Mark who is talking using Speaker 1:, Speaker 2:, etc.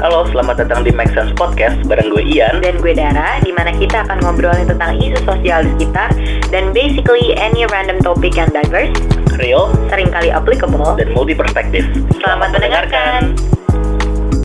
Speaker 1: Halo, selamat datang di Make Sense Podcast bareng gue Ian.
Speaker 2: dan gue Dara, di mana kita akan ngobrolin tentang isu sosial di sekitar dan basically any random topic yang diverse,
Speaker 1: Real
Speaker 2: seringkali applicable.
Speaker 1: dan multi perspektif.
Speaker 2: Selamat mendengarkan.